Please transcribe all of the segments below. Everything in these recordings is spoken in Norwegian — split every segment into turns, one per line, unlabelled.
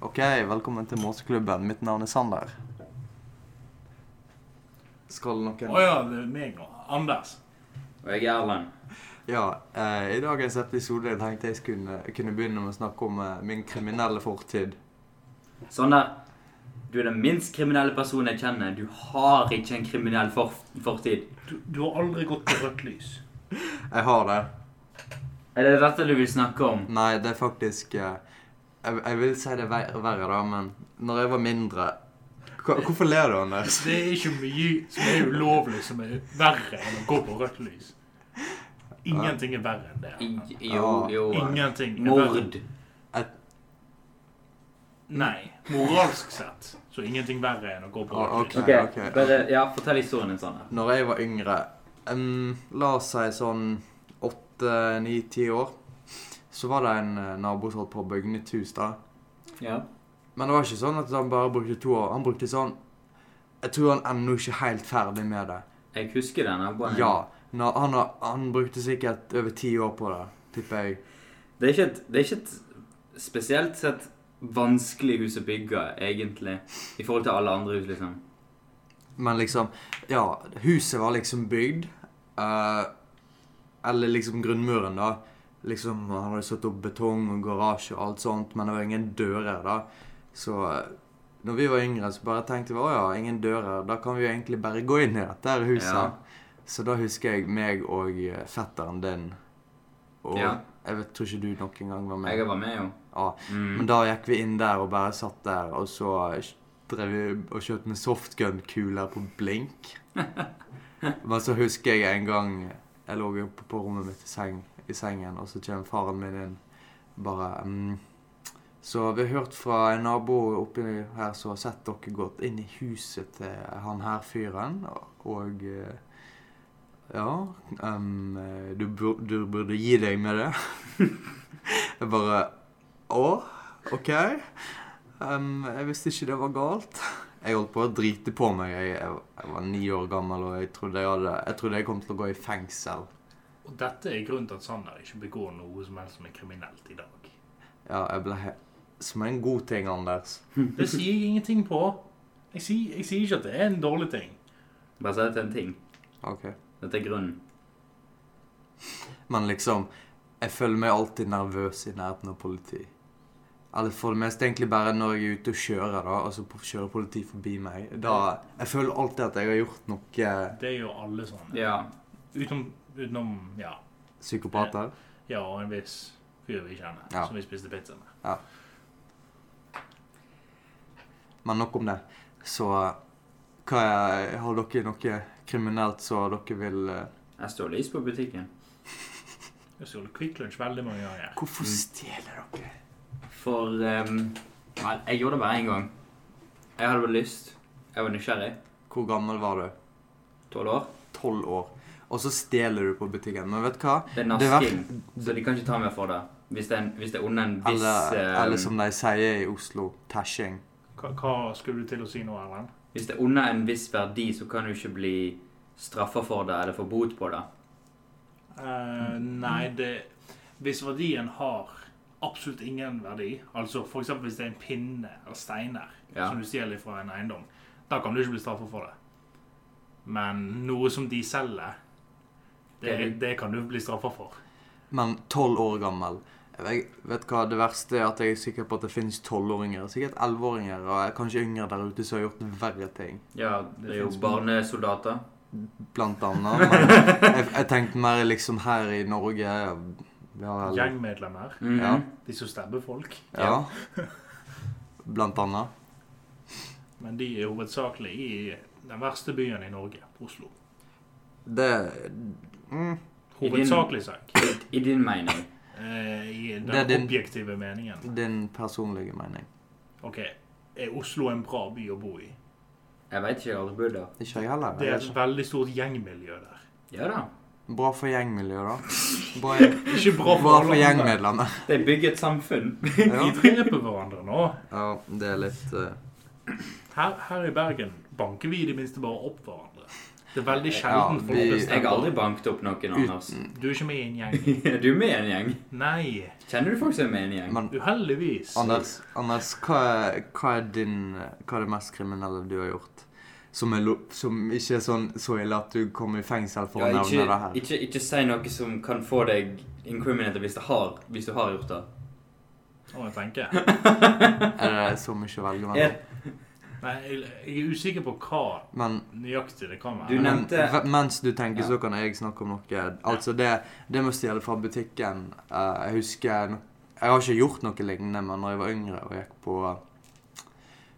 Ok, velkommen til Måseklubben. Mitt navn er Sander. Skal
Å
noen
ja, det er meg og Anders.
Og jeg er Erlend.
Ja, eh, I dagens episode tenkte jeg skulle kunne begynne med å snakke om eh, min kriminelle fortid.
Sander, Sånn du er den minst kriminelle personen jeg kjenner. Du har ikke en kriminell for fortid.
Du, du har aldri gått på rødt lys.
Jeg har det.
Er det dette du vil snakke om?
Sånn.
Nei, det er faktisk eh, Jeg, jeg vil si det er ver- verre, da, men når jeg var mindre Hva- Hvorfor ler du, Anders?
Det er ikke mye som er ulovlig som er verre enn å gå på rødt lys. Ingenting er verre enn det.
I-
Ah,
Jo, jo.
Ingenting er verre.
Mord.
Nei. Moralsk sett så er ingenting verre enn å gå på
Ah,
rødt lys.
ok.
Ok, bare ja, fortell historien din, Sander.
Når jeg var yngre, em, la oss si sånn åtte, ni, ti år, så var det en eh, nabo som holdt på å bygge nytt hus da.
Ja.
Men det var ikke sånn at han bare brukte to år. Han brukte sånn Jeg tror han ennå ikke er helt ferdig med det.
Jeg husker den. naboen.
Ja. Nå, han, har, han brukte sikkert over ti år på det, tipper jeg.
Det er ikke et, det er ikke et spesielt sett vanskelig hus å bygge, egentlig, i forhold til alle andre hus, liksom.
Men liksom Ja, huset var liksom bygd. eh, eller liksom grunnmuren, da. Liksom, Han hadde satt opp betong og garasje og alt sånt, men det var ingen dører, da. Så eh, når vi var yngre, så bare tenkte vi å ja, ingen dører. Da kan vi jo egentlig bare gå inn i dette her huset.
Ja.
Så da husker jeg meg og eh, fetteren din. Og
Ja.
jeg vet, tror ikke du nok engang var med.
Jeg var med, jo.
Ja.
Mm.
Ah, Men da gikk vi inn der og bare satt der, og så drev vi og kjøpte med softgun-kuler på blink. Men så husker jeg en gang jeg lå oppe på rommet mitt i, seng, i sengen, og så kommer faren min inn bare mm. Så vi har hørt fra en nabo oppi her som har sett dere gått inn i huset til han her fyren, og eh, Ja em, eh, du, bur, du burde gi deg med det. jeg bare Å? OK. Em, jeg visste ikke det var galt. Jeg holdt på å drite på meg. Jeg, jeg, jeg var ni år gammel, og jeg trodde jeg, hadde, jeg trodde jeg kom til å gå i fengsel.
Og dette er grunnen til at Sander ikke begår noe som helst som er kriminelt i dag.
Ja, jeg ble he Som en god ting, Anders.
Det sier jeg ingenting på. Jeg sier, jeg sier ikke at det er en dårlig ting.
Bare si dette er en ting.
OK.
Dette er grunnen.
Men liksom, jeg føler meg alltid nervøs i nærheten av politi. Eller for det meste egentlig bare når jeg er ute og kjører, da, og så po- kjører politi forbi meg. Da, Jeg føler alltid at jeg har gjort noe
Det gjør alle sånne.
Ja.
Utenom, utenom ja.
psykopater.
ja, og en viss fyr vi kjenner,
Ja.
som vi spiste pizza med.
Men nok om det. Så hva er, har dere noe kriminelt så dere vil eh,
Jeg står lys på butikken.
Jeg stjal Quick Lunch veldig mange ganger.
Hvorfor stjeler dere?
For ehm, Nei, jeg gjorde det bare én gang. Jeg hadde bare lyst. Jeg var nysgjerrig.
Hvor gammel var du?
Tolv år.
Tolv år. Og så stjeler du på butikken. Men vet du hva?
Det er
Det var-
nasking, så de kan ikke ta meg for det. Hvis det er, en- hvis det er under en viss
Eller,
ehm,
eller som de sier i Oslo, tæsjing.
Hva, hva skulle du til å si nå, Erlend?
Hvis det er under en viss verdi, så kan du ikke bli straffa for det eller få bot på det.
Eh, nei, det Hvis verdien har absolutt ingen verdi, altså f.eks. hvis det er en pinne eller steiner
Ja.
som du stjeler fra en eiendom, da kan du ikke bli straffet for det. Men noe som de selger, det, det kan du bli straffet for.
Men tolv år gammel. Jeg vet hva, Det verste er at jeg er sikker på at det finnes tolvåringer. Sikkert elleveåringer og kanskje yngre der ute som har gjort verre ting.
Ja, det er jo
finnes-
barnesoldater.
Blant annet. Men jeg, jeg tenkte mer liksom her i Norge Ja, eller,
Gjengmedlemmer,
Mhm.
Ja.
de som stabber folk.
ja. Blant annet.
Men de er hovedsakelig i den verste byen i Norge, Oslo.
Det mm,
I din-
Hovedsakelig sak.
I din mening.
Eh, I den
Det er din-
objektive meningen.
Din personlige mening.
OK, er Oslo en bra by å bo i?
Jeg veit ikke, jeg har aldri bodd der.
Ikke jeg heller.
Det
Jeg
er
vet
et
ikke.
veldig stort gjengmiljø der.
Ja da.
Bra for gjengmiljøet, da. Bra, bra
Ikke bra for,
for
alle andre.
gjengmedlemmer.
De bygger et samfunn.
Ja.
De dreper hverandre nå.
ja, det er litt eh,
Her, her i Bergen banker vi i det minste bare opp hverandre. Det er veldig
Ja,
sjelden folk
vi-
Jeg har aldri
bestemmer.
banket opp noen, Anders.
Uten,
Du er ikke med i en gjeng.
Er du med i en gjeng?
Nei.
Kjenner du folk som er med i en gjeng?
men
Uheldigvis.
Anders, Anders hva, er, hva, er din, hva er det mest kriminelle du har gjort? Som, er, lo- som ikke er sånn så ille at du kom i fengsel for
Ja,
å nevne det
ikke,
her.
ikke, ikke si noe som kan få deg incriminated hvis, det har, hvis du har gjort det.
Nå må jeg tenke.
Er det så mye å velge
Er,
mellom?
Nei, jeg, jeg er usikker på hva
Men,
nøyaktig det kan
Du
være.
men
nevnte-
v- mens du tenker,
Ja.
så kan jeg snakke om noe. Altså, det, det med å stjele fra butikken eh, Jeg husker no- Jeg har ikke gjort noe lignende, men når jeg var yngre og gikk på eh,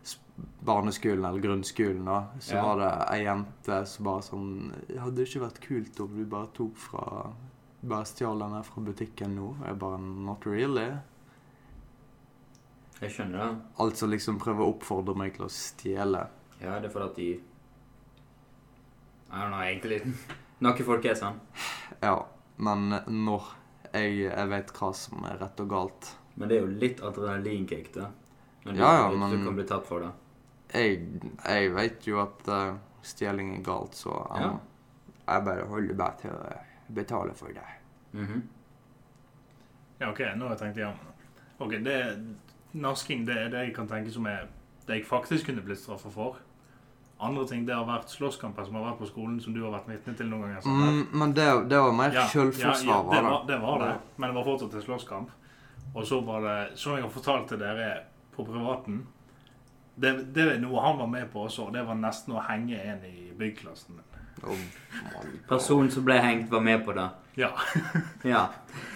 s- barneskolen eller grunnskolen, da, så
Ja.
var det ei jente som bare sånn Hadde det ikke vært kult om du bare tok fra Bare stjal den her fra butikken nå? Og jeg bare Not really.
jeg skjønner det.
Altså liksom prøve å oppfordre meg til å stjele.
Ja, det er fordi at de Jeg vet ikke, egentlig. Noen folk er sånn.
Ja, men når jeg, jeg vet hva som er rett og galt
Men det er jo litt adrenalinkick, da. Når du,
Ja, ja,
vet at
men-
du kan bli tatt for det.
Jeg, jeg vet jo at eh, stjeling er galt, så jeg,
Ja.
jeg bare holder bare til å betale for det.
Mhm.
Ja, OK, nå har jeg tenkt igjen. OK, det Nasking det er det jeg kan tenke som er det jeg faktisk kunne blitt straffa for. Andre ting det har vært slåsskamper som har vært på skolen, som du har vært vitne til noen ganger. sånn her.
Mm, men det, det var mer
Ja, ja,
selvforsvar,
ja, det
var det?
var det. var det, men det var fortsatt en slåsskamp. Og så var det, som jeg har fortalt til dere på privaten det, det er noe han var med på også, og det var nesten å henge en i byggklassen min.
Å, mann.
Personen som ble hengt, var med på det.
Ja,
Ja.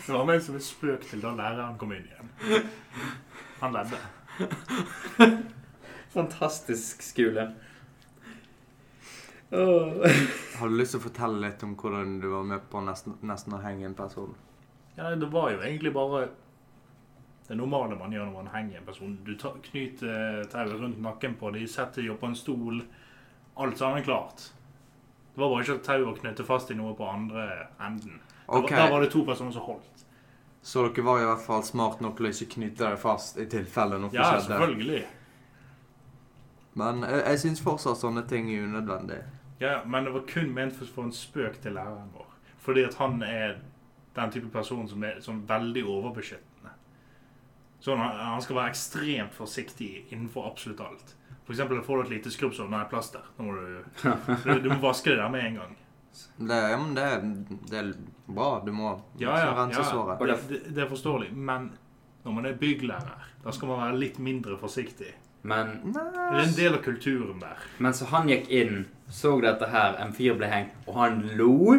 Det var ment som en spøk til da læreren kom inn igjen. Han ledde.
Fantastisk skole.
Har du lyst til å fortelle litt om hvordan du var med på nesten, nesten å henge en person?
Ja, det var jo egentlig bare det normale man gjør når man henger en person. Du ta- knyter tauet rundt nakken på dem, setter dem på en stol. Alt sammen klart. Det var bare ikke at tauet var knyttet fast i noe på andre enden. Da-
Ok,
Da var det to personer som holdt.
Så dere var i hvert fall smart nok til å ikke knyte dere fast i tilfelle noe
Ja,
skjedde?
selvfølgelig.
Men eh, jeg, jeg syns fortsatt sånne ting er unødvendig.
Ja, ja, men det var kun ment for- for en spøk til læreren vår. Fordi at han er den type person som er sånn veldig overbeskyttende. Sånn, han, han skal være ekstremt forsiktig innenfor absolutt alt. For eksempel får du et lite skrubb sånn, nei, plaster. Nå må du, du, du må vaske det der med en gang.
Det, ja, men det, er- det er bra. Du må
Ja, ja,
rense
ja.
såret.
Det, det, det er forståelig, men når man er bygglærer, da skal man være litt mindre forsiktig.
Men
Det er en del av kulturen der.
mens han gikk inn, så dette her, en fyr ble hengt, og han lo.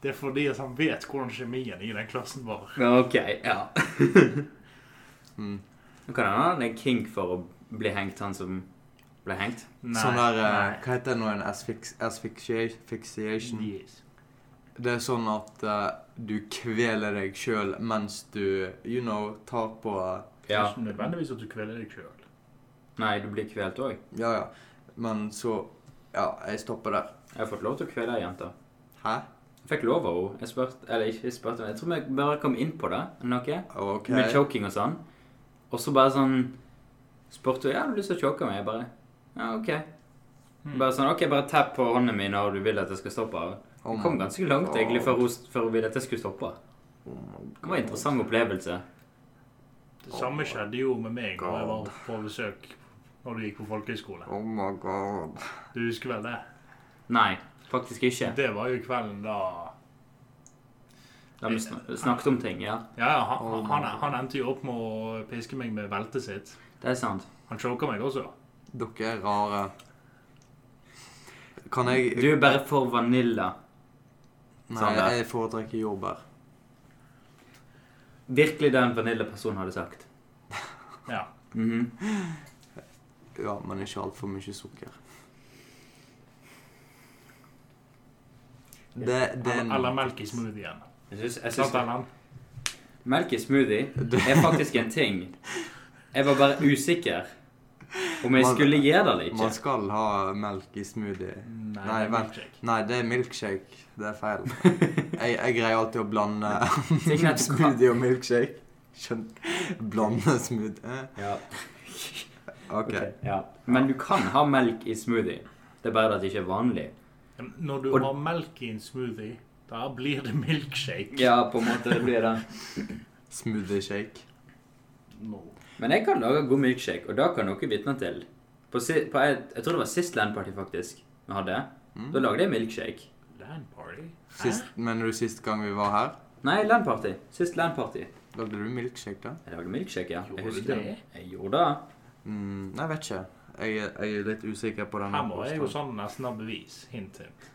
Det er fordi at han vet hvordan kjemien i den klassen var.
Ok, ja.
Mm.
Nå kan han ha en kink for å bli hengt, han som ble hengt.
Nei,
sånn der eh,
nei.
Hva heter det nå? En asfix, asphyxiation?
Yes.
Det er sånn at eh, du kveler deg sjøl mens du, you know, tar på eh,
Ja.
Ikke nødvendigvis at du kveler deg sjøl.
Nei, du blir kvelt òg.
Ja, ja. Men så Ja, jeg stopper der.
Jeg har fått lov til å kvele ei jente.
Hæ?
Jeg fikk lov av henne. Jeg spurte, eller ikke spurte, jeg tror vi bare kom inn på det, eller noe,
OK.
med choking og sånn. Og så bare sånn spurte hun, ja, har du lyst til å choke meg? Jeg bare, ja, ok.
Mm.
Bare sånn, ok, bare tapp på hånden min når du vil at jeg skal stoppe.
Oh
Hun
my
kom ganske langt egentlig før hun, før hun ville at jeg skulle stoppe.
Oh my
Det var en interessant opplevelse.
Det samme skjedde jo med meg da
God.
jeg var på besøk når du gikk på folkehøyskole.
Oh my god.
Du husker vel det?
Nei, faktisk ikke.
Det var jo kvelden da
Da
Eh,
vi sn- snakket om ting, ja.
Ja, ja, han, han, han endte jo opp med å piske meg med beltet sitt.
Det er sant.
Han choka meg også.
Dere er rare. Kan jeg
Du Sånn er bare for vanilla.
Nei,
Sander.
jeg foretrekker jordbær.
Virkelig den vanilla personen hadde sagt.
Ja.
Mhm.
Ja, men ikke altfor mye sukker. Det, det er
Eller, eller melk i smoothien.
Jeg synes, jeg synes
Sant, Erlend?
melk i smoothie er faktisk en ting. Jeg var bare usikker om jeg
Man-
skulle gjøre det eller
Man
ikke.
skal ha milk i smoothie.
Nei,
Nei,
det er
vent.
milkshake.
Nei, det er milkshake. Det er feil. Jeg, jeg greier alltid å blande
Ting er-
smoothie og milkshake. Skjønt. Blande smoothie eh,
Ja.
OK.
Ja. Men du kan ha melk i smoothie. Det er bare at det ikke er vanlig.
Ja, men Når du
Og-
har melk i en smoothie, da blir det milkshake.
Ja, på en måte. Det blir det.
Smoothie shake.
No.
Men jeg kan lage god milkshake, og da kan noen vitne til. På, si, på et, jeg tror det var sist landparty, faktisk, vi hadde.
Mm.
Da lagde jeg milkshake.
Land party?
Mm. Sist, mener du sist gang vi var her?
Nei, landparty. Sist landparty.
Lagde du milkshake da?
Jeg lagde milkshake, ja.
Gjorde
jeg husker
du
det.
det?
Jeg gjorde det.
Mm, nei, vet ikke. Jeg, er- jeg er litt usikker på den.
Her må jeg jo sånn nesten ha bevis. Hint, hint.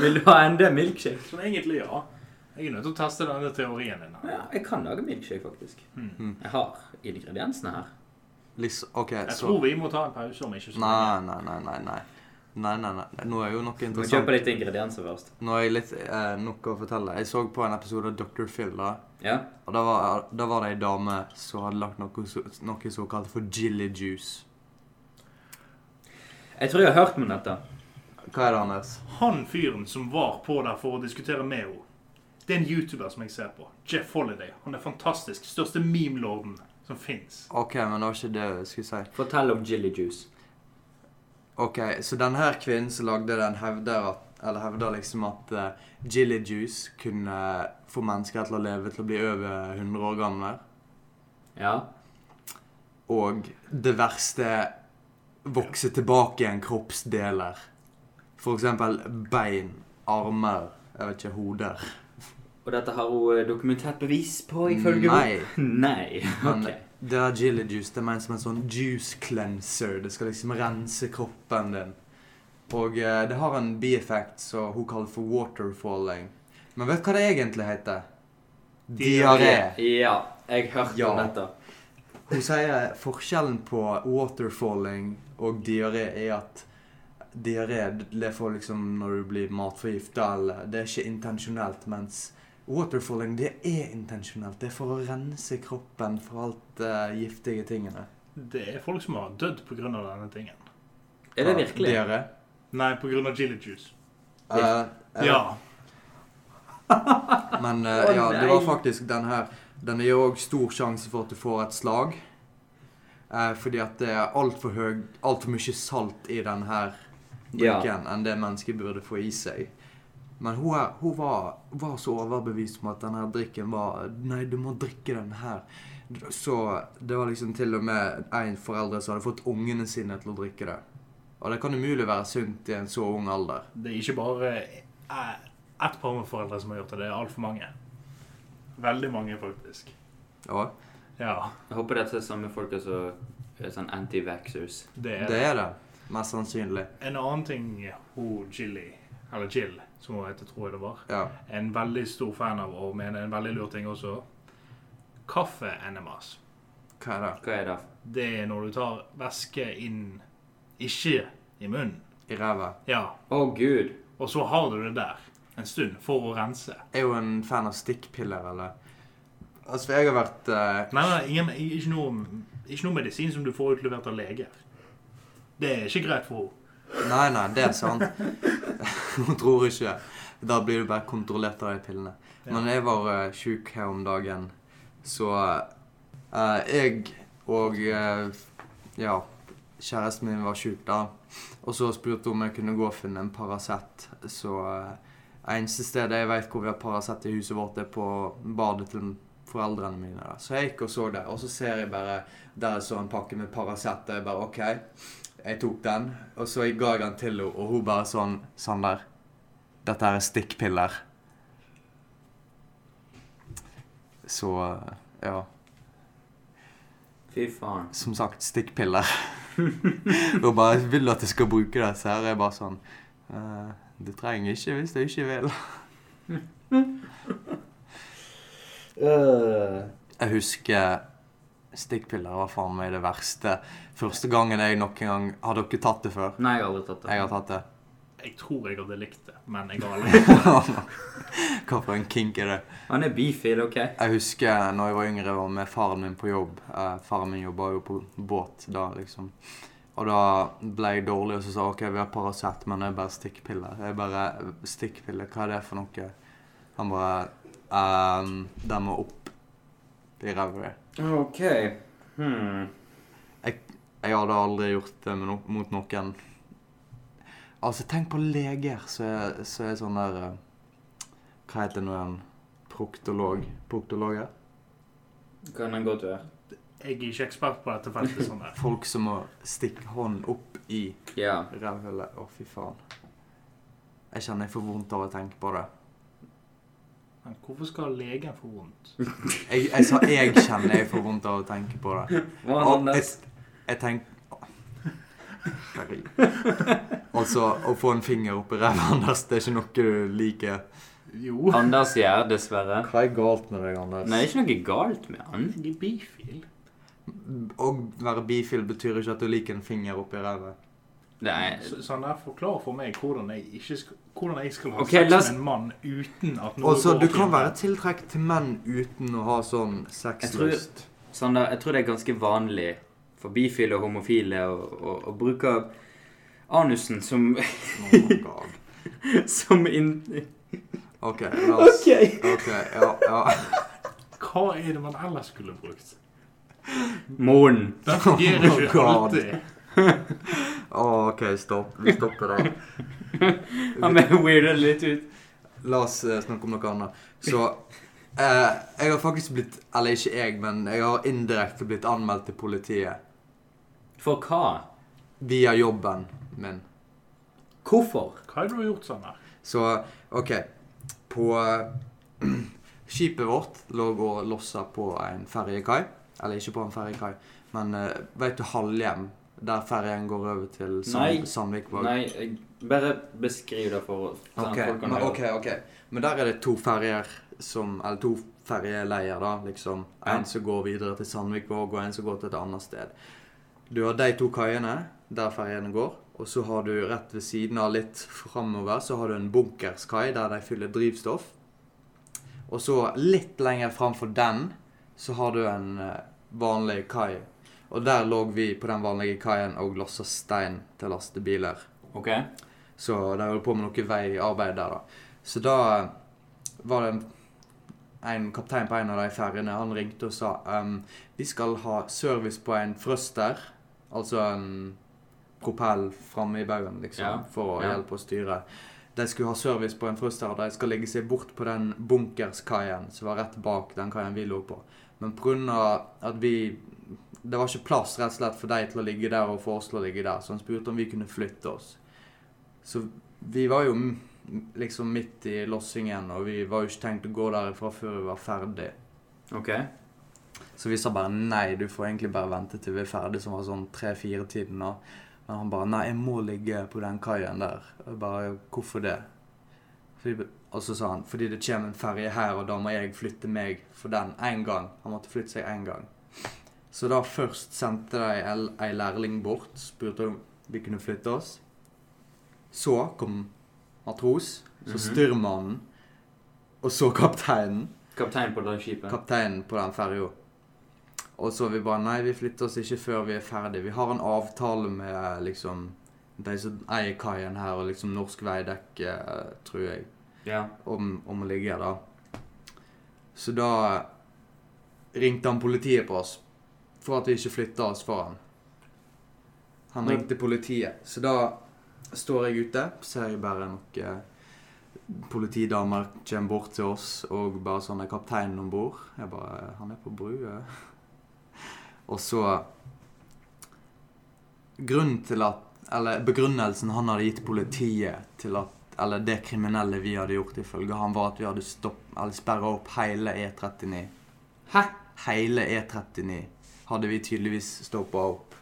Vil du ha enda milkshake?
Så Sånn egentlig ja. Jeg er nødt til å teste denne teorien din. her.
Ja, jeg kan lage milkshake, faktisk.
Mm.
Hmm.
Jeg har ingrediensene her.
Liksom, ok,
sånn. Jeg
så...
tror vi må ta en pause om ikke så
Nei, nei, nei, nei, nei. Nei, nei, nei. Nå er jo noe
Du må kjøpe
interessant.
litt ingredienser først.
Nå er jeg litt eh, noe å fortelle. Jeg så på en episode av Dr. Phil da.
Ja.
Og da var, da var det ei dame som hadde lagt noe, så- noe såkalt for chili juice.
Jeg tror jeg har hørt om dette.
Hva er det, Anders?
Han fyren som var på der for å diskutere med henne, det er en YouTuber som jeg ser på. Jeff Holiday. Han er fantastisk. Største memelorden som fins.
OK, men det var ikke det jeg skulle si.
Fortell om chili juice.
Ok, Så denne her kvinnen som lagde den, hevder, at, eller hevder liksom at eh, chili juice kunne få mennesker til å leve til å bli over 100 år gamle.
Ja.
Og det verste vokse tilbake igjen kroppsdeler. For eksempel bein, armer, jeg vet ikke, hoder.
Og dette har hun eh, dokumentert bevis på, ifølge
Nei.
Nei.
Men
Ok.
det der chili juice det er ment som en sånn juice cleanser. Det skal liksom rense kroppen din. Og eh, det har en bieffekt som hun kaller for waterfalling. Men vet du hva det egentlig heter? Diaré.
Ja. Jeg hørte
Ja.
om dette.
Hun sier forskjellen på waterfalling og diaré er at diaré det får liksom når du blir matforgifta, eller det er ikke intensjonelt, mens waterfalling det er intensjonelt. Det er for å rense kroppen for alt eh, giftige tingene.
Det er folk som har dødd pga. denne tingen.
Er det
Ja,
virkelig?
Diaré?
Nei, pga. chili juice.
Eh, eh,
Ja.
Men eh,
Å,
ja, det var
nei.
faktisk den her. Den er jo òg stor sjanse for at du får et slag. Eh, fordi at det er altfor høy Altfor mye salt i den her
Ja.
drikken enn det mennesket burde få i seg. Men hun, her, hun var, var så overbevist om at den her drikken var Nei, du må drikke den her. Så det var liksom til og med en foreldre som hadde fått ungene sine til å drikke det. Og det kan umulig være sunt i en så ung alder.
Det er ikke bare eh, ett par med foreldre som har gjort det. Det er altfor mange. Veldig mange, faktisk.
Ja,
Ja,
Jeg håper dette er samme folka som er sånn anti-vaxxers.
det er
det er det. Mest sannsynlig.
En annen ting hun Jilly, eller Jill, som hun heter, tror jeg det var,
Ja.
er en veldig stor fan av og mener en veldig lur ting også. Kaffe-enemas.
Hva er det?
Hva er det?
Det er når du tar væske inn ikke i munnen.
i ræva.
Ja,
Å, gud.
og så har du det der en stund for å rense.
Jeg er jo en fan av stikkpiller, eller Altså, jeg har vært eh,
Nei, nei, ingen, ikke, noe, ikke noe medisin som du får utlevert av leger. Det er ikke greit for henne.
Nei, nei, det er sant. Hun tror ikke. Da blir du bare kontrollert av de pillene. Men jeg var eh, sjuk her om dagen, så eh, Jeg og eh, ja, kjæresten min var sjuk da. Og så spurte hun om jeg kunne gå og finne en Paracet. Så eh, eneste stedet jeg vet hvor vi har Paracet i huset vårt, er på badet til foreldrene mine. Da. Så jeg gikk og så det, og så ser jeg bare der så en pakke med Paracet, og jeg bare OK. Jeg tok den, og så ga jeg den til henne, og hun bare sånn Sander, dette her er stikkpiller. Så ja.
Fy faen.
Som sagt, stikkpiller. hun bare vil du at jeg skal bruke det, så her er jeg bare sånn «Eh, Du trenger ikke hvis du ikke vil.
Øh.
Jeg husker stikkpiller var faen meg det verste. Første gangen jeg noen gang Har dere tatt det før?
Nei, jeg har aldri tatt det.
Jeg har tatt det.
Jeg tror jeg hadde likt det, men jeg har aldri
Hva for en kink er det?
Han er bifil, OK?
Jeg husker når jeg var yngre og var med faren min på jobb. Eh, faren min jobba jo på båt da, liksom. Og da ble jeg dårlig og så sa OK, vi har Paracet, men det er bare stikkpiller. Jeg bare Stikkpiller, hva er det for noe? Han bare ehm, Den må opp i ræva di.
OK. Hmm.
Jeg hadde aldri gjort det med no mot noen. Altså, tenk på leger som er, som er sånn der eh, Hva heter det nå igjen? Proktolog? Proktologer?
Kan den godt være.
Jeg er ikke ekspert på dette feltet. sånn der.
Folk som må stikke hånden opp i
Ja.
rævhullet. Å, fy faen. Jeg kjenner jeg får vondt av å tenke på det.
Men hvorfor skal legen få vondt?
Jeg, jeg sa jeg kjenner jeg får vondt av å tenke på det.
Hva
Og
er den
jeg, jeg tenker Altså, å få en finger opp i ræva, Anders, det er ikke noe du liker.
Jo,
Anders gjør, dessverre.
Hva er galt med deg, Anders?
Nei, det er ikke noe galt med han.
jeg er bifil.
Å være bifil betyr ikke at du liker en finder oppi ræva.
Det er...
Så, sånn der, Forklar for meg hvordan jeg, ikke skal, hvordan jeg skal ha
Ok,
sex
la oss-
med en mann uten at noe
Og så du
går
kan
til-
være tiltrukket til menn uten å ha sånn sexlyst.
Sander, sånn jeg tror det er ganske vanlig for bifile og homofile å, å, å bruke anusen som,
Oh my God.
som in...
OK, la oss OK, ja, ja.
Hva er det man ellers skulle brukt?
Månen.
Den fungerer
Oh my
ikke
God.
alltid.
Å, OK, stopp. Vi stopper der.
Han weirder litt ut.
La oss eh, snakke om noe annet. Så eh, jeg har faktisk blitt Eller ikke jeg, men jeg har indirekte blitt anmeldt til politiet.
For hva?
Via jobben min.
Hvorfor?
Hva har du gjort sånn her?
Så OK. På eh, Skipet vårt lå og lossa på en ferjekai. Eller ikke på en ferjekai, men uh, veit du Halhjem? Der ferjen går over til
Nei.
Sand Sandvikvåg?
Nei, jeg- bare beskriv det for oss. sånn at
Ok,
folk kan
men,
høre.
ok, ok. Men der er det to ferjer som Eller to ferjeleier, da, liksom. En
Ja.
som går videre til Sandvikvåg, og en som går til et annet sted. Du har de to kaiene der ferjene går, og så har du rett ved siden av litt framover, så har du en bunkerskai der de fyller drivstoff. Og så litt lenger framfor den, så har du en eh, vanlig kai. Og der lå vi på den vanlige kaien og lossa stein til lastebiler.
Ok.
Så de holdt på med noe veiarbeid der, da. Så da eh, var det en, en kaptein på en av de ferjene. Han ringte og sa ehm, vi skal ha service på en thruster, altså en propell framme i baugen, liksom,
Ja,
for å
ja.
hjelpe å styre. De skulle ha service på en thruster, og de skal legge seg bort på den bunkerskaien som var rett bak den kaien vi lå på. Men pga. at vi Det var ikke plass rett og slett for de til å ligge der og for oss til å ligge der, så han spurte om vi kunne flytte oss. Så vi var jo m- liksom midt i lossingen, og vi var jo ikke tenkt å gå derifra før vi var ferdig.
Ok.
Så vi sa bare nei, du får egentlig bare vente til vi er ferdig, som var sånn tre-fire-tiden. da. Men han bare nei, jeg må ligge på den kaien der. Og jeg bare hvorfor det? Så vi, ba- og så sa han fordi det kommer en ferje her, og da må jeg flytte meg for den én gang. Han måtte flytte seg én gang. Så da først sendte de el- ei lærling bort, spurte om vi kunne flytte oss. Så kom matros, så
Mhm.
styrmannen, og så kapteinen
Kaptein på det skipet.
kapteinen på den ferja. Og så vi bare Nei, vi flytter oss ikke før vi er ferdig. Vi har en avtale med liksom de som eier kaien her, og liksom Norsk Veidekke, eh, tror jeg,
ja.
om, om å ligge her, da. Så da ringte han politiet på oss for at vi ikke flytta oss for han. Han
Men-
ringte politiet. Så da står jeg ute, ser jeg bare noen politidamer kommer bort til oss og bare sånn er kapteinen om bord. Jeg bare Han er på brua. Og så Grunnen til at Eller begrunnelsen han hadde gitt politiet til at Eller det kriminelle vi hadde gjort, ifølge han, var at vi hadde stopp, eller sperra opp hele E39.
Hæ?
Hele E39 hadde vi tydeligvis stoppa opp.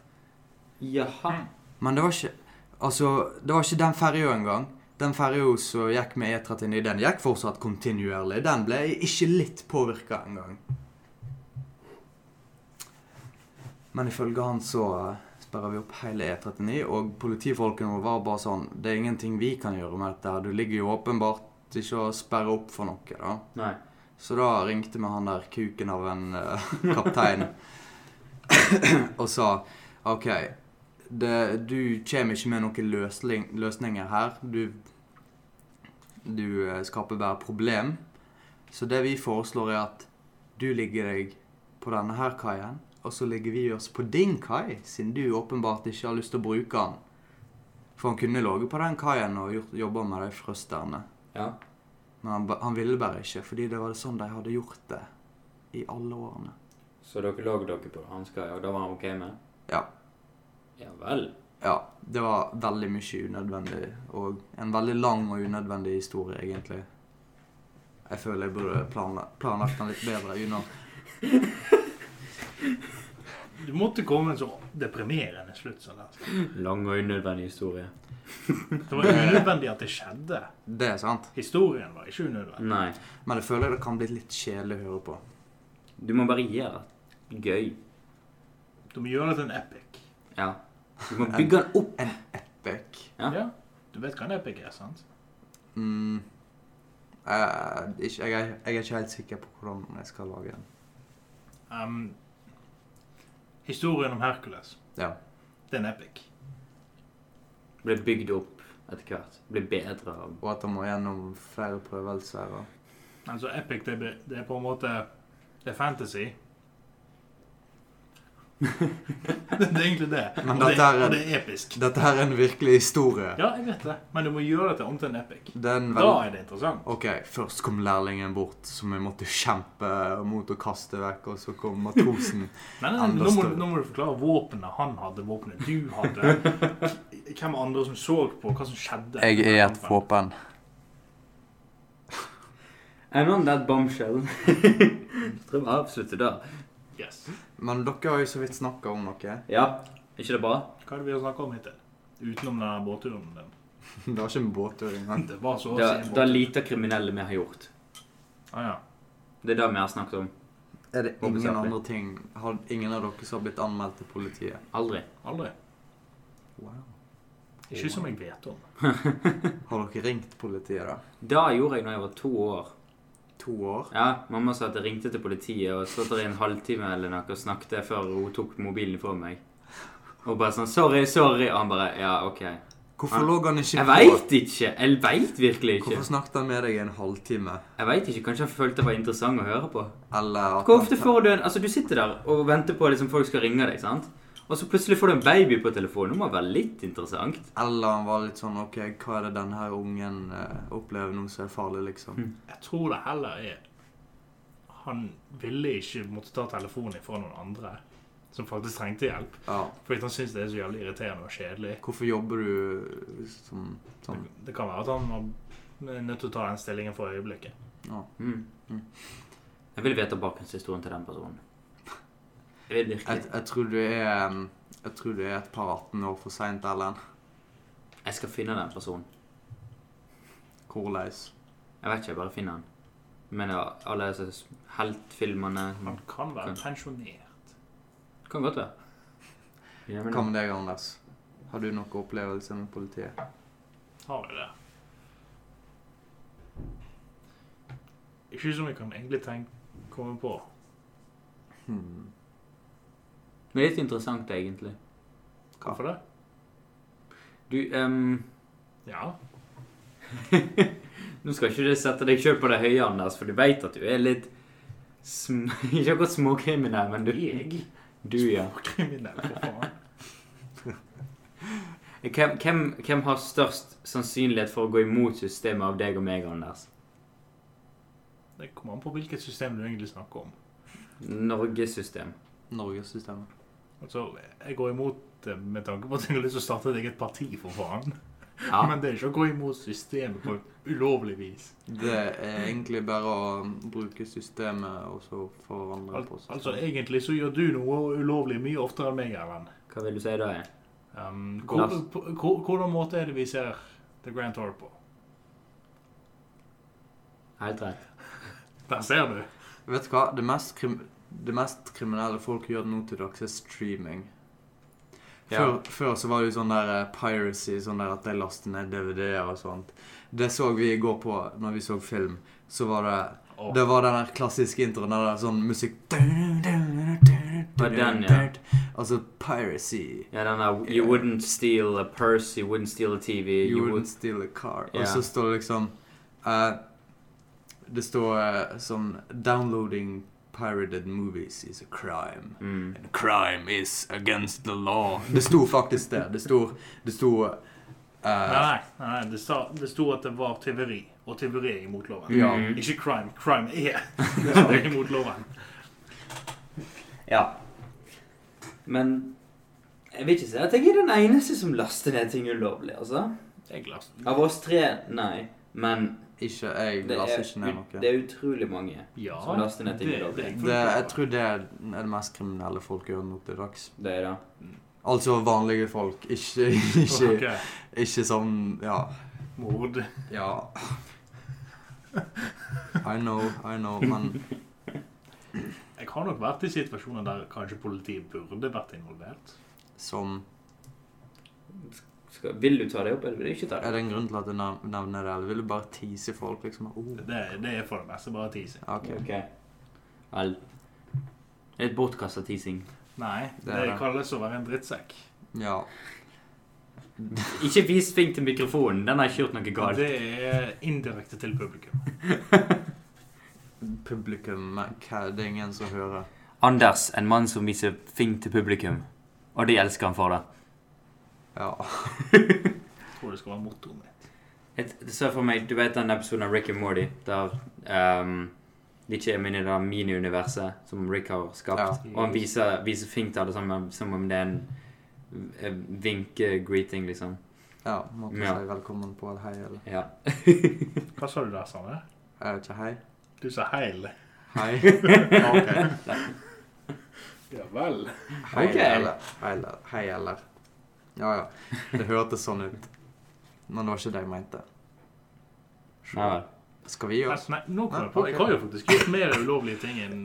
Jaha.
Men det var ikke Altså, det var ikke den ferja engang. Den ferja som gikk med E39, den gikk fortsatt kontinuerlig. Den ble ikke litt påvirka engang. Men ifølge han så eh, sperra vi opp hele E39, og politifolkene våre var bare sånn Det er ingenting vi kan gjøre med dette. Du ligger jo åpenbart ikke og sperrer opp for noe, da.
Nei.
Så da ringte vi han der kuken av en eh, kaptein og sa OK, det, du kommer ikke med noen løsling, løsninger her. Du, du eh, skaper bare problem. Så det vi foreslår, er at du ligger deg på denne her kaien, og så ligger vi oss på din kai, siden du åpenbart ikke har lyst til å bruke den. For han kunne ligget på den kaien og gjort- jobba med de frøsterne.
Ja.
Men han, ba- han ville bare ikke, fordi det var sånn de hadde gjort det i alle årene.
Så dere lå dere på hansker, og da var han OK med det?
Ja.
Ja vel.
Ja, det var veldig mye unødvendig, og en veldig lang og unødvendig historie, egentlig. Jeg føler jeg burde planla planlagt den litt bedre unna.
Du måtte komme med en så deprimerende slutt som det.
Lang og unødvendig historie.
Det var unødvendig at det skjedde.
Det er sant,
Historien var ikke unødvendig.
Nei.
men jeg føler det kan bli litt kjedelig å høre på.
Du må bare gjøre det gøy.
Du må gjøre det til en epic.
Ja. Du må bygge den opp.
Epic.
Ja.
Du vet hva en epic er, sant?
Mm. Eh, ikke, jeg, er, jeg er ikke helt sikker på hvordan jeg skal lage den.
Ehm, historien om Hercules,
Ja.
det er en epic.
Bli bygd opp etter hvert. Bli bedre av
Og at han må gjennom flere prøvelser. Og...
Altså, epic, det er, det er på en måte Det er fantasy. det er egentlig det.
Men
og,
dette
det
er en-
og det er episk.
Dette her er en virkelig historie.
Ja, jeg vet det, men du må gjøre det til om til en epic.
Det er en
Da
veldig
er det interessant.
Ok, først kom lærlingen bort, som jeg måtte kjempe mot å kaste vekk, og så kom matrosen.
Nei, nei,
Enda
eh, nå, må,
større.
nå må du forklare våpenet han hadde, våpenet du hadde. Hvem andre som så på, hva som skjedde.
våpen.
And on that bombshell Jeg tror vi avslutter der.
Yes.
Men dere har jo så vidt snakka om noe.
Ja. Er ikke det bra?
Hva er det vi har snakket om hittil? Utenom den der båtturen. din.
Det var ikke en båttur engang.
Det var så å
Det,
si en
det er
båttur.
lite kriminelle vi har gjort.
Ah, ja.
Det er det vi har snakket om.
Er det ingen
Hovedsakelig.
andre ting Har ingen av dere som har blitt anmeldt til politiet?
Aldri.
Aldri.
Wow.
Ikke som jeg vet om.
Har dere ringt politiet, da?
Det gjorde jeg da jeg var to år.
To år?
Ja, Mamma sa at jeg ringte til politiet og satt der i en halvtime eller noe og snakket før hun tok mobilen fra meg. Og bare sånn 'Sorry, sorry.' Og han bare 'Ja, OK'.
Hvorfor
Ja.
lå han ikke
Jeg veit ikke! Jeg veit virkelig ikke.
Hvorfor snakket han med deg i en halvtime?
Jeg vet ikke, Kanskje han følte det var interessant å høre på.
Eller at
Hvor ofte får du en Altså, du sitter der og venter på at liksom, folk skal ringe deg, sant? Og så plutselig får du en baby på telefonen. Det må være litt interessant.
Eller han var litt sånn OK, hva er det denne her ungen eh, opplever nå som er farlig, liksom?
Mm.
Jeg tror det heller er Han ville ikke måtte ta telefonen fra noen andre som faktisk trengte hjelp.
Ja.
Fordi han syns det er så jævlig irriterende og kjedelig.
Hvorfor jobber du som
Det,
sånn?
det kan være at han var nødt til å ta den stillingen for øyeblikket.
Ja.
Mm.
Mm.
Jeg vil vite bakgrunnshistorien til den personen. Jeg vil
Jeg,
virkelig.
jeg tror du er um, Jeg tror du er et par 18 år for seint, Ellen.
Jeg skal finne den personen.
Hvordan?
Jeg vet ikke, jeg bare finner den. Men ja, alle disse s- heltfilmene
Han kan være
Mm.
pensjonert.
Kan godt være. Ja, men-
Hva med deg, Anders? Har du noen opplevelse med politiet?
Har vi det? Ikke som jeg kan egentlig tenke komme på.
Hmm.
Det er litt interessant, egentlig.
Hva?
Hvorfor det?
Du, ehm...
Ja.
Nå skal ikke du sette deg sjøl på det høye, Anders, for du veit at du er litt sm Ikke akkurat småkriminell, men du
Jeg?
Du, ja.
Kriminell, for faen.
Hvem, hvem, hvem har størst sannsynlighet for å gå imot systemet av deg og meg, Anders?
Det kommer an på hvilket system du egentlig snakker om.
Norges system.
Norgessystemet.
Altså, jeg går imot det med tanke på at jeg har lyst til å starte et eget parti, for faen.
Ja.
Men det er ikke å gå imot systemet på ulovlig vis.
Det er egentlig bare å bruke systemet og så forandre
Al
på systemet.
altså, egentlig så gjør du noe ulovlig mye oftere enn meg, Erlend.
Hva vil du si da? er?
Um, hvor,
Lars.
på- hvor- hvordan måte er det vi ser The Grand Tour på?
Helt rett.
Der ser du.
Vet du hva? Det mest, krim det mest kriminelle folk gjør nå til dags, er streaming. Før,
Ja.
før så var det jo sånn der eh, piracy, sånn der at de laster ned DVD-er og sånt. Det så vi i går på når vi så film. Så var det
Åh,
Det var den der klassiske introen der det er sånn musikk
Var den, ja.
Altså piracy.
Ja, den der You wouldn't steal a purse, you wouldn't steal a TV
You
you
wouldn't
would...
steal a car.
Ja.
Og så står det liksom eh, Det står eh, sånn Downloading pirated movies is a crime.
mm.
And crime is against the law. Det sto faktisk det. Det sto, det sto Eh,
Nei, nei, nei det, sta, det sto at det var tyveri, og tyveri er imot loven.
Ja.
Mhm.
Ikke crime. Crime er det er imot loven.
Ja. Men jeg vil ikke si at jeg er den eneste som laster ned ting ulovlig, altså.
Jeg glass-
Av oss tre, nei. Men
Ikke jeg
det
laster
er,
ikke ned noe.
ut- det er utrolig mange.
Ja,
Som laster ned ting ulovlig.
jeg
Det,
fullt klar
jeg
over.
tror det er det mest kriminelle folk gjør nå til dags.
Det er det.
Altså vanlige folk. Ikke, ikke,
Ok.
ikke sånn Ja.
Mord.
Ja. I know, I know, men
Jeg har nok vært i situasjoner der kanskje politiet burde vært involvert.
som
Skal, vil du ta det opp, eller vil du ikke ta
Er
det?
det en grunn til at jeg nav- nevner det, eller vil du bare tease folk, liksom? Oh.
Det, det er for det meste bare teasing.
OK.
Ok. Vel. Litt bortkasta teasing.
Nei,
Det
det,
er det.
kalles å være en drittsekk.
Ja.
Ikke vis fing til mikrofonen. Den har ikke gjort noe galt.
Det er indirekte til publikum.
Publikum men hva, Det er ingen som hører.
Anders, en mann som viser fing til publikum. Og de elsker han for det.
Ja.
Jeg tror det skal være mottoet mitt.
Jeg jeg ser for meg, Du vet den episoden av Rick and Morty der ehm, de ikke er inne i det mini-universet som Rick har skapt?
Ja.
Og han viser, viser fink til alle sammen som om det er en eh, vinke-greeting, liksom.
ja måtte
Ja.
si velkommen på eller hei, eller
Ja.
Hva sa du der, Sanne?
Jeg vet ikke. Hei.
Du sa heil.
Hei. OK.
Ja vel.
Hei
Ok.
eller Hei eller Hei eller Ja, ja. Det hørtes sånn ut. Men det var ikke det jeg mente.
Nei vel.
Skal vi gjøre
Nei, nei, nå kom
Nei,
jeg på. Jeg
ok.
har jo faktisk gjort mer ulovlige ting enn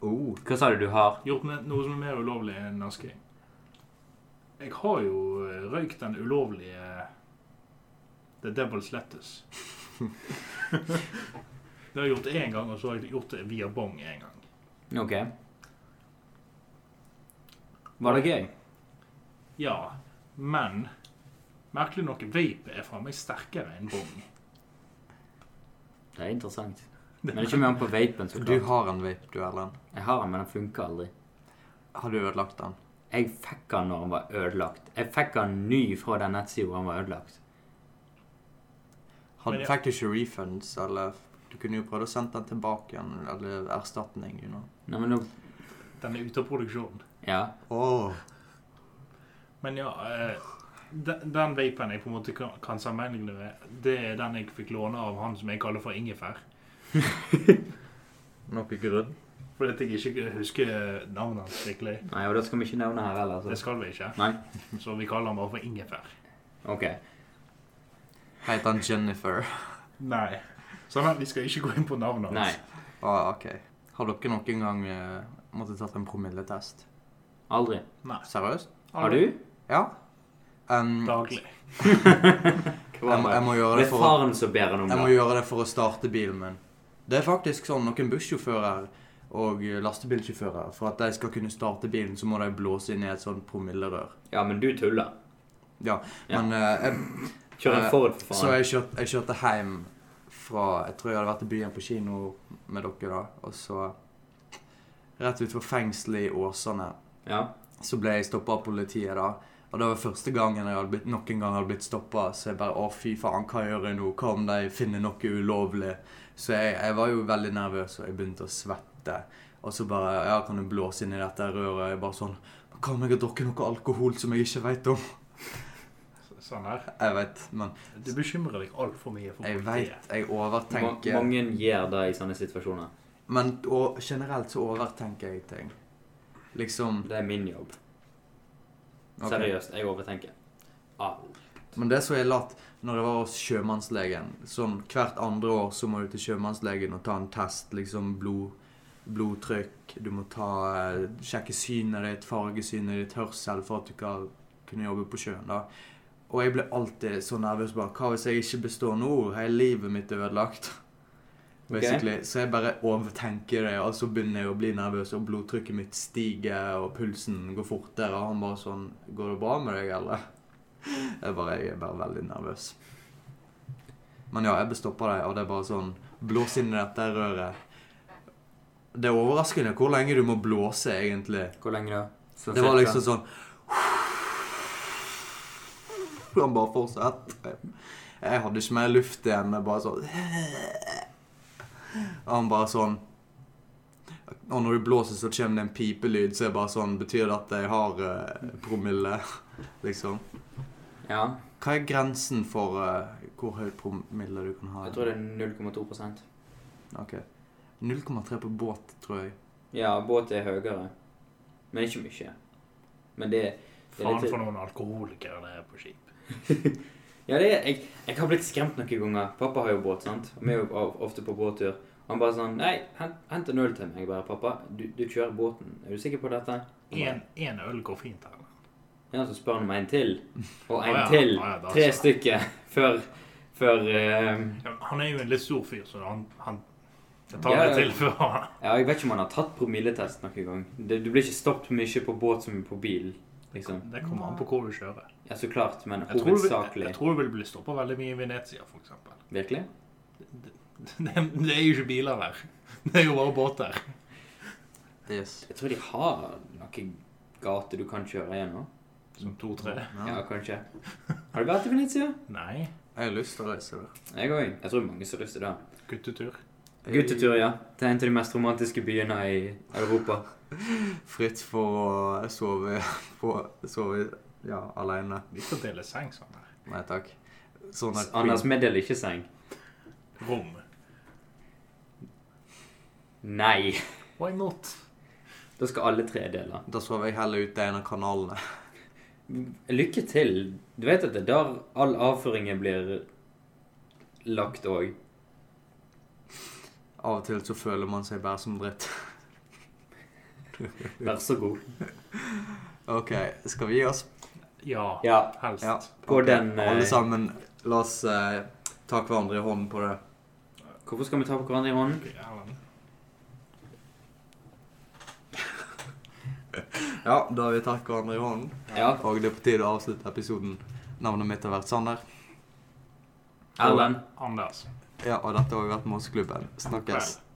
oh,
Hva sa du du har?
Gjort me- noe som er mer ulovlig enn nasking. Jeg har jo eh, røykt den ulovlige The Devil's Lettuce. det har jeg gjort én gang, og så har jeg gjort det via bong én gang.
Ok. Var det gøy?
Ja, men merkelig nok, vape er faen meg sterkere enn bong.
Det er interessant. Men det er ikke mer på vapen, så
Du
klart.
har en vape, du, Erlend.
Jeg har den, men den funker aldri.
Har du ødelagt den?
Jeg fikk den når den var ødelagt. Jeg fikk den ny fra den nettsida hvor den var ødelagt.
Had,
Men jeg-
Fikk du ikke refunds, eller Du kunne jo prøvd å sende den tilbake igjen, eller erstatning, you know.
Nei, men nå...
Den er ute av produksjon.
Ja.
Oh.
Men ja, eh, den, den vapen jeg på en måte kan, kan sammenligne med, det er den jeg fikk låne av han som jeg kaller for ingefær.
Noe grunn?
Fordi at jeg ikke husker navnet hans skikkelig.
Nei, og det skal vi ikke nevne her heller.
Det
Altså.
skal vi ikke.
Nei?
Så vi kaller han bare for ingefær.
Ok.
Heter han Jennifer?
Nei. Sånn at vi skal ikke gå inn på navnet hans.
Nei.
Å, OK. Har dere noen gang eh, måttet tatt en promilletest?
Aldri.
Seriøst?
Har du?
Ja. Um,
Daglig.
jeg, må- jeg må gjøre
Det
det
er
for å
faren som ber han om
Jeg må
det.
gjøre det for å starte bilen min. Det er faktisk sånn noen bussjåfører og lastebilsjåfører For at de skal kunne starte bilen, så må de blåse inn i et sånt promillerør.
Ja, men du tuller. Ja.
Men eh, jeg,
Kjør en
Eh,
forut, for
Så
faen.
jeg kjørte, jeg kjørte hjem fra Jeg tror jeg hadde vært i byen på kino med dere da, og så Rett utenfor fengselet i Åsane
Ja.
så ble jeg stoppa av politiet da. Og det var første gangen jeg hadde blitt, noen gang hadde blitt stoppa. Så jeg bare Å, fy faen, hva gjør jeg nå? Hva om de finner noe ulovlig? Så jeg, jeg var jo veldig nervøs, og jeg begynte å svette. Og så bare Ja, kan du blåse inn i dette røret? Jeg bare sånn «Men Hva om jeg har drukket noe alkohol som jeg ikke veit om?
Så- Sånn her.
Jeg veit, men
Du bekymrer deg altfor mye for
jeg
politiet.
veit Jeg
Ma-
overtenker.
Mange gjør det i sånne situasjoner.
Men og generelt så overtenker jeg ting. Liksom
Det er min jobb.
ok.
Seriøst, jeg overtenker. Alt.
Men det som er latt når jeg var hos sjømannslegen Sånn hvert andre år så må du til sjømannslegen og ta en test, liksom blod, blodtrykk Du må ta, eh, sjekke synet ditt, fargesynet ditt, hørsel for at du kan kunne jobbe på sjøen. da. Og jeg ble alltid så nervøs. bare, Hva hvis jeg ikke består nå? Hele livet mitt er ødelagt. Basically. Så jeg bare overtenker det, og så begynner jeg å bli nervøs, og blodtrykket mitt stiger, og pulsen går fortere, og han bare sånn 'Går det bra med deg, eller?' Jeg bare, jeg er bare veldig nervøs. Men ja, jeg bestopper deg, og det er bare sånn Blås inn i dette røret. Det er overraskende hvor lenge du må blåse, egentlig. liksom
Hvor lenge da? Sånn
Det var
cirka?
liksom sånn For han bare fortsatte. Jeg hadde ikke mer luft igjen. Jeg bare sånn Og han bare sånn Og når du blåser, så kommer det en pipelyd, så er det bare sånn Betyr det at jeg har eh, promille? Liksom.
Ja.
Hva er grensen for eh, hvor høy promille du kan ha?
Jeg tror det er 0,2
Ok. 0,3 på båt, tror jeg.
Ja, båt er høyere. Men ikke mye. Men det Det er
Faen
litt-
for noen alkoholikere det er på skip.
Ja, det er, jeg, jeg har blitt skremt noen ganger. Pappa har jo båt, sant? Og vi er jo av- ofte på båttur. Han bare sånn Nei, hent, hent en øl til meg, bare. Pappa, du, du kjører båten. Er du sikker på dette? Han bare,
Én øl går fint her.
Ja, så spør han om en til. Og
Å
en
ja,
til.
å ja, da
Tre
så.
stykker før før eh,
Ja, Han er jo en litt stor fyr, så han, han Det tar
Ja,
litt
ja.
til før han
Ja, jeg vet ikke om han har tatt promilletest noen gang. Det, du blir ikke stoppet mye på båt som på bil, liksom.
Det kommer an på hvor du kjører.
Ja, så klart, men
Jeg tror, du, vil-
hovedsakelig.
jeg tror du vil bli stoppa veldig mye i Venezia, for eksempel.
Virkelig?
Det, det er jo ikke biler der. Det er jo bare båter.
Yes.
Jeg tror de har noen gater du kan kjøre gjennom.
Som to-tre.
Ja,
Ja.
kanskje. Har du vært i Venezia?
Nei.
Jeg har lyst til å reise der.
Jeg òg. Jeg tror mange som har lyst til det.
Guttetur.
Guttetur, ja. Til en av de mest romantiske byene i Europa.
Fritt for å sove på Sove ja, aleine.
Vi skal dele seng sånn her.
Nei takk. Sånn er
Anders
queen.
vi deler ikke seng.
Rom.
Nei.
Why not?
Da skal alle tre dele.
Da sov jeg heller ute i en av kanalene.
Lykke til. Du vet at det er der all avføringen blir lagt òg.
Av og til så føler man seg bare som dritt.
Vær så god.
OK, skal vi gi oss?
Ja.
Ja.
Helst.
Ja.
På
Ok,
den, eh,
Alle sammen, la oss eh, ta hverandre i hånden på det.
Hvorfor skal vi ta på hverandre i hånden?
Ok, Erlend.
Ja, da har vi tatt hverandre i hånden.
Ja.
Og det er på tide å avslutte episoden. Navnet mitt har vært Sander.
Erlend?
Anders.
Ja, og dette har vært Mosseklubben. Snakkes.
Vel.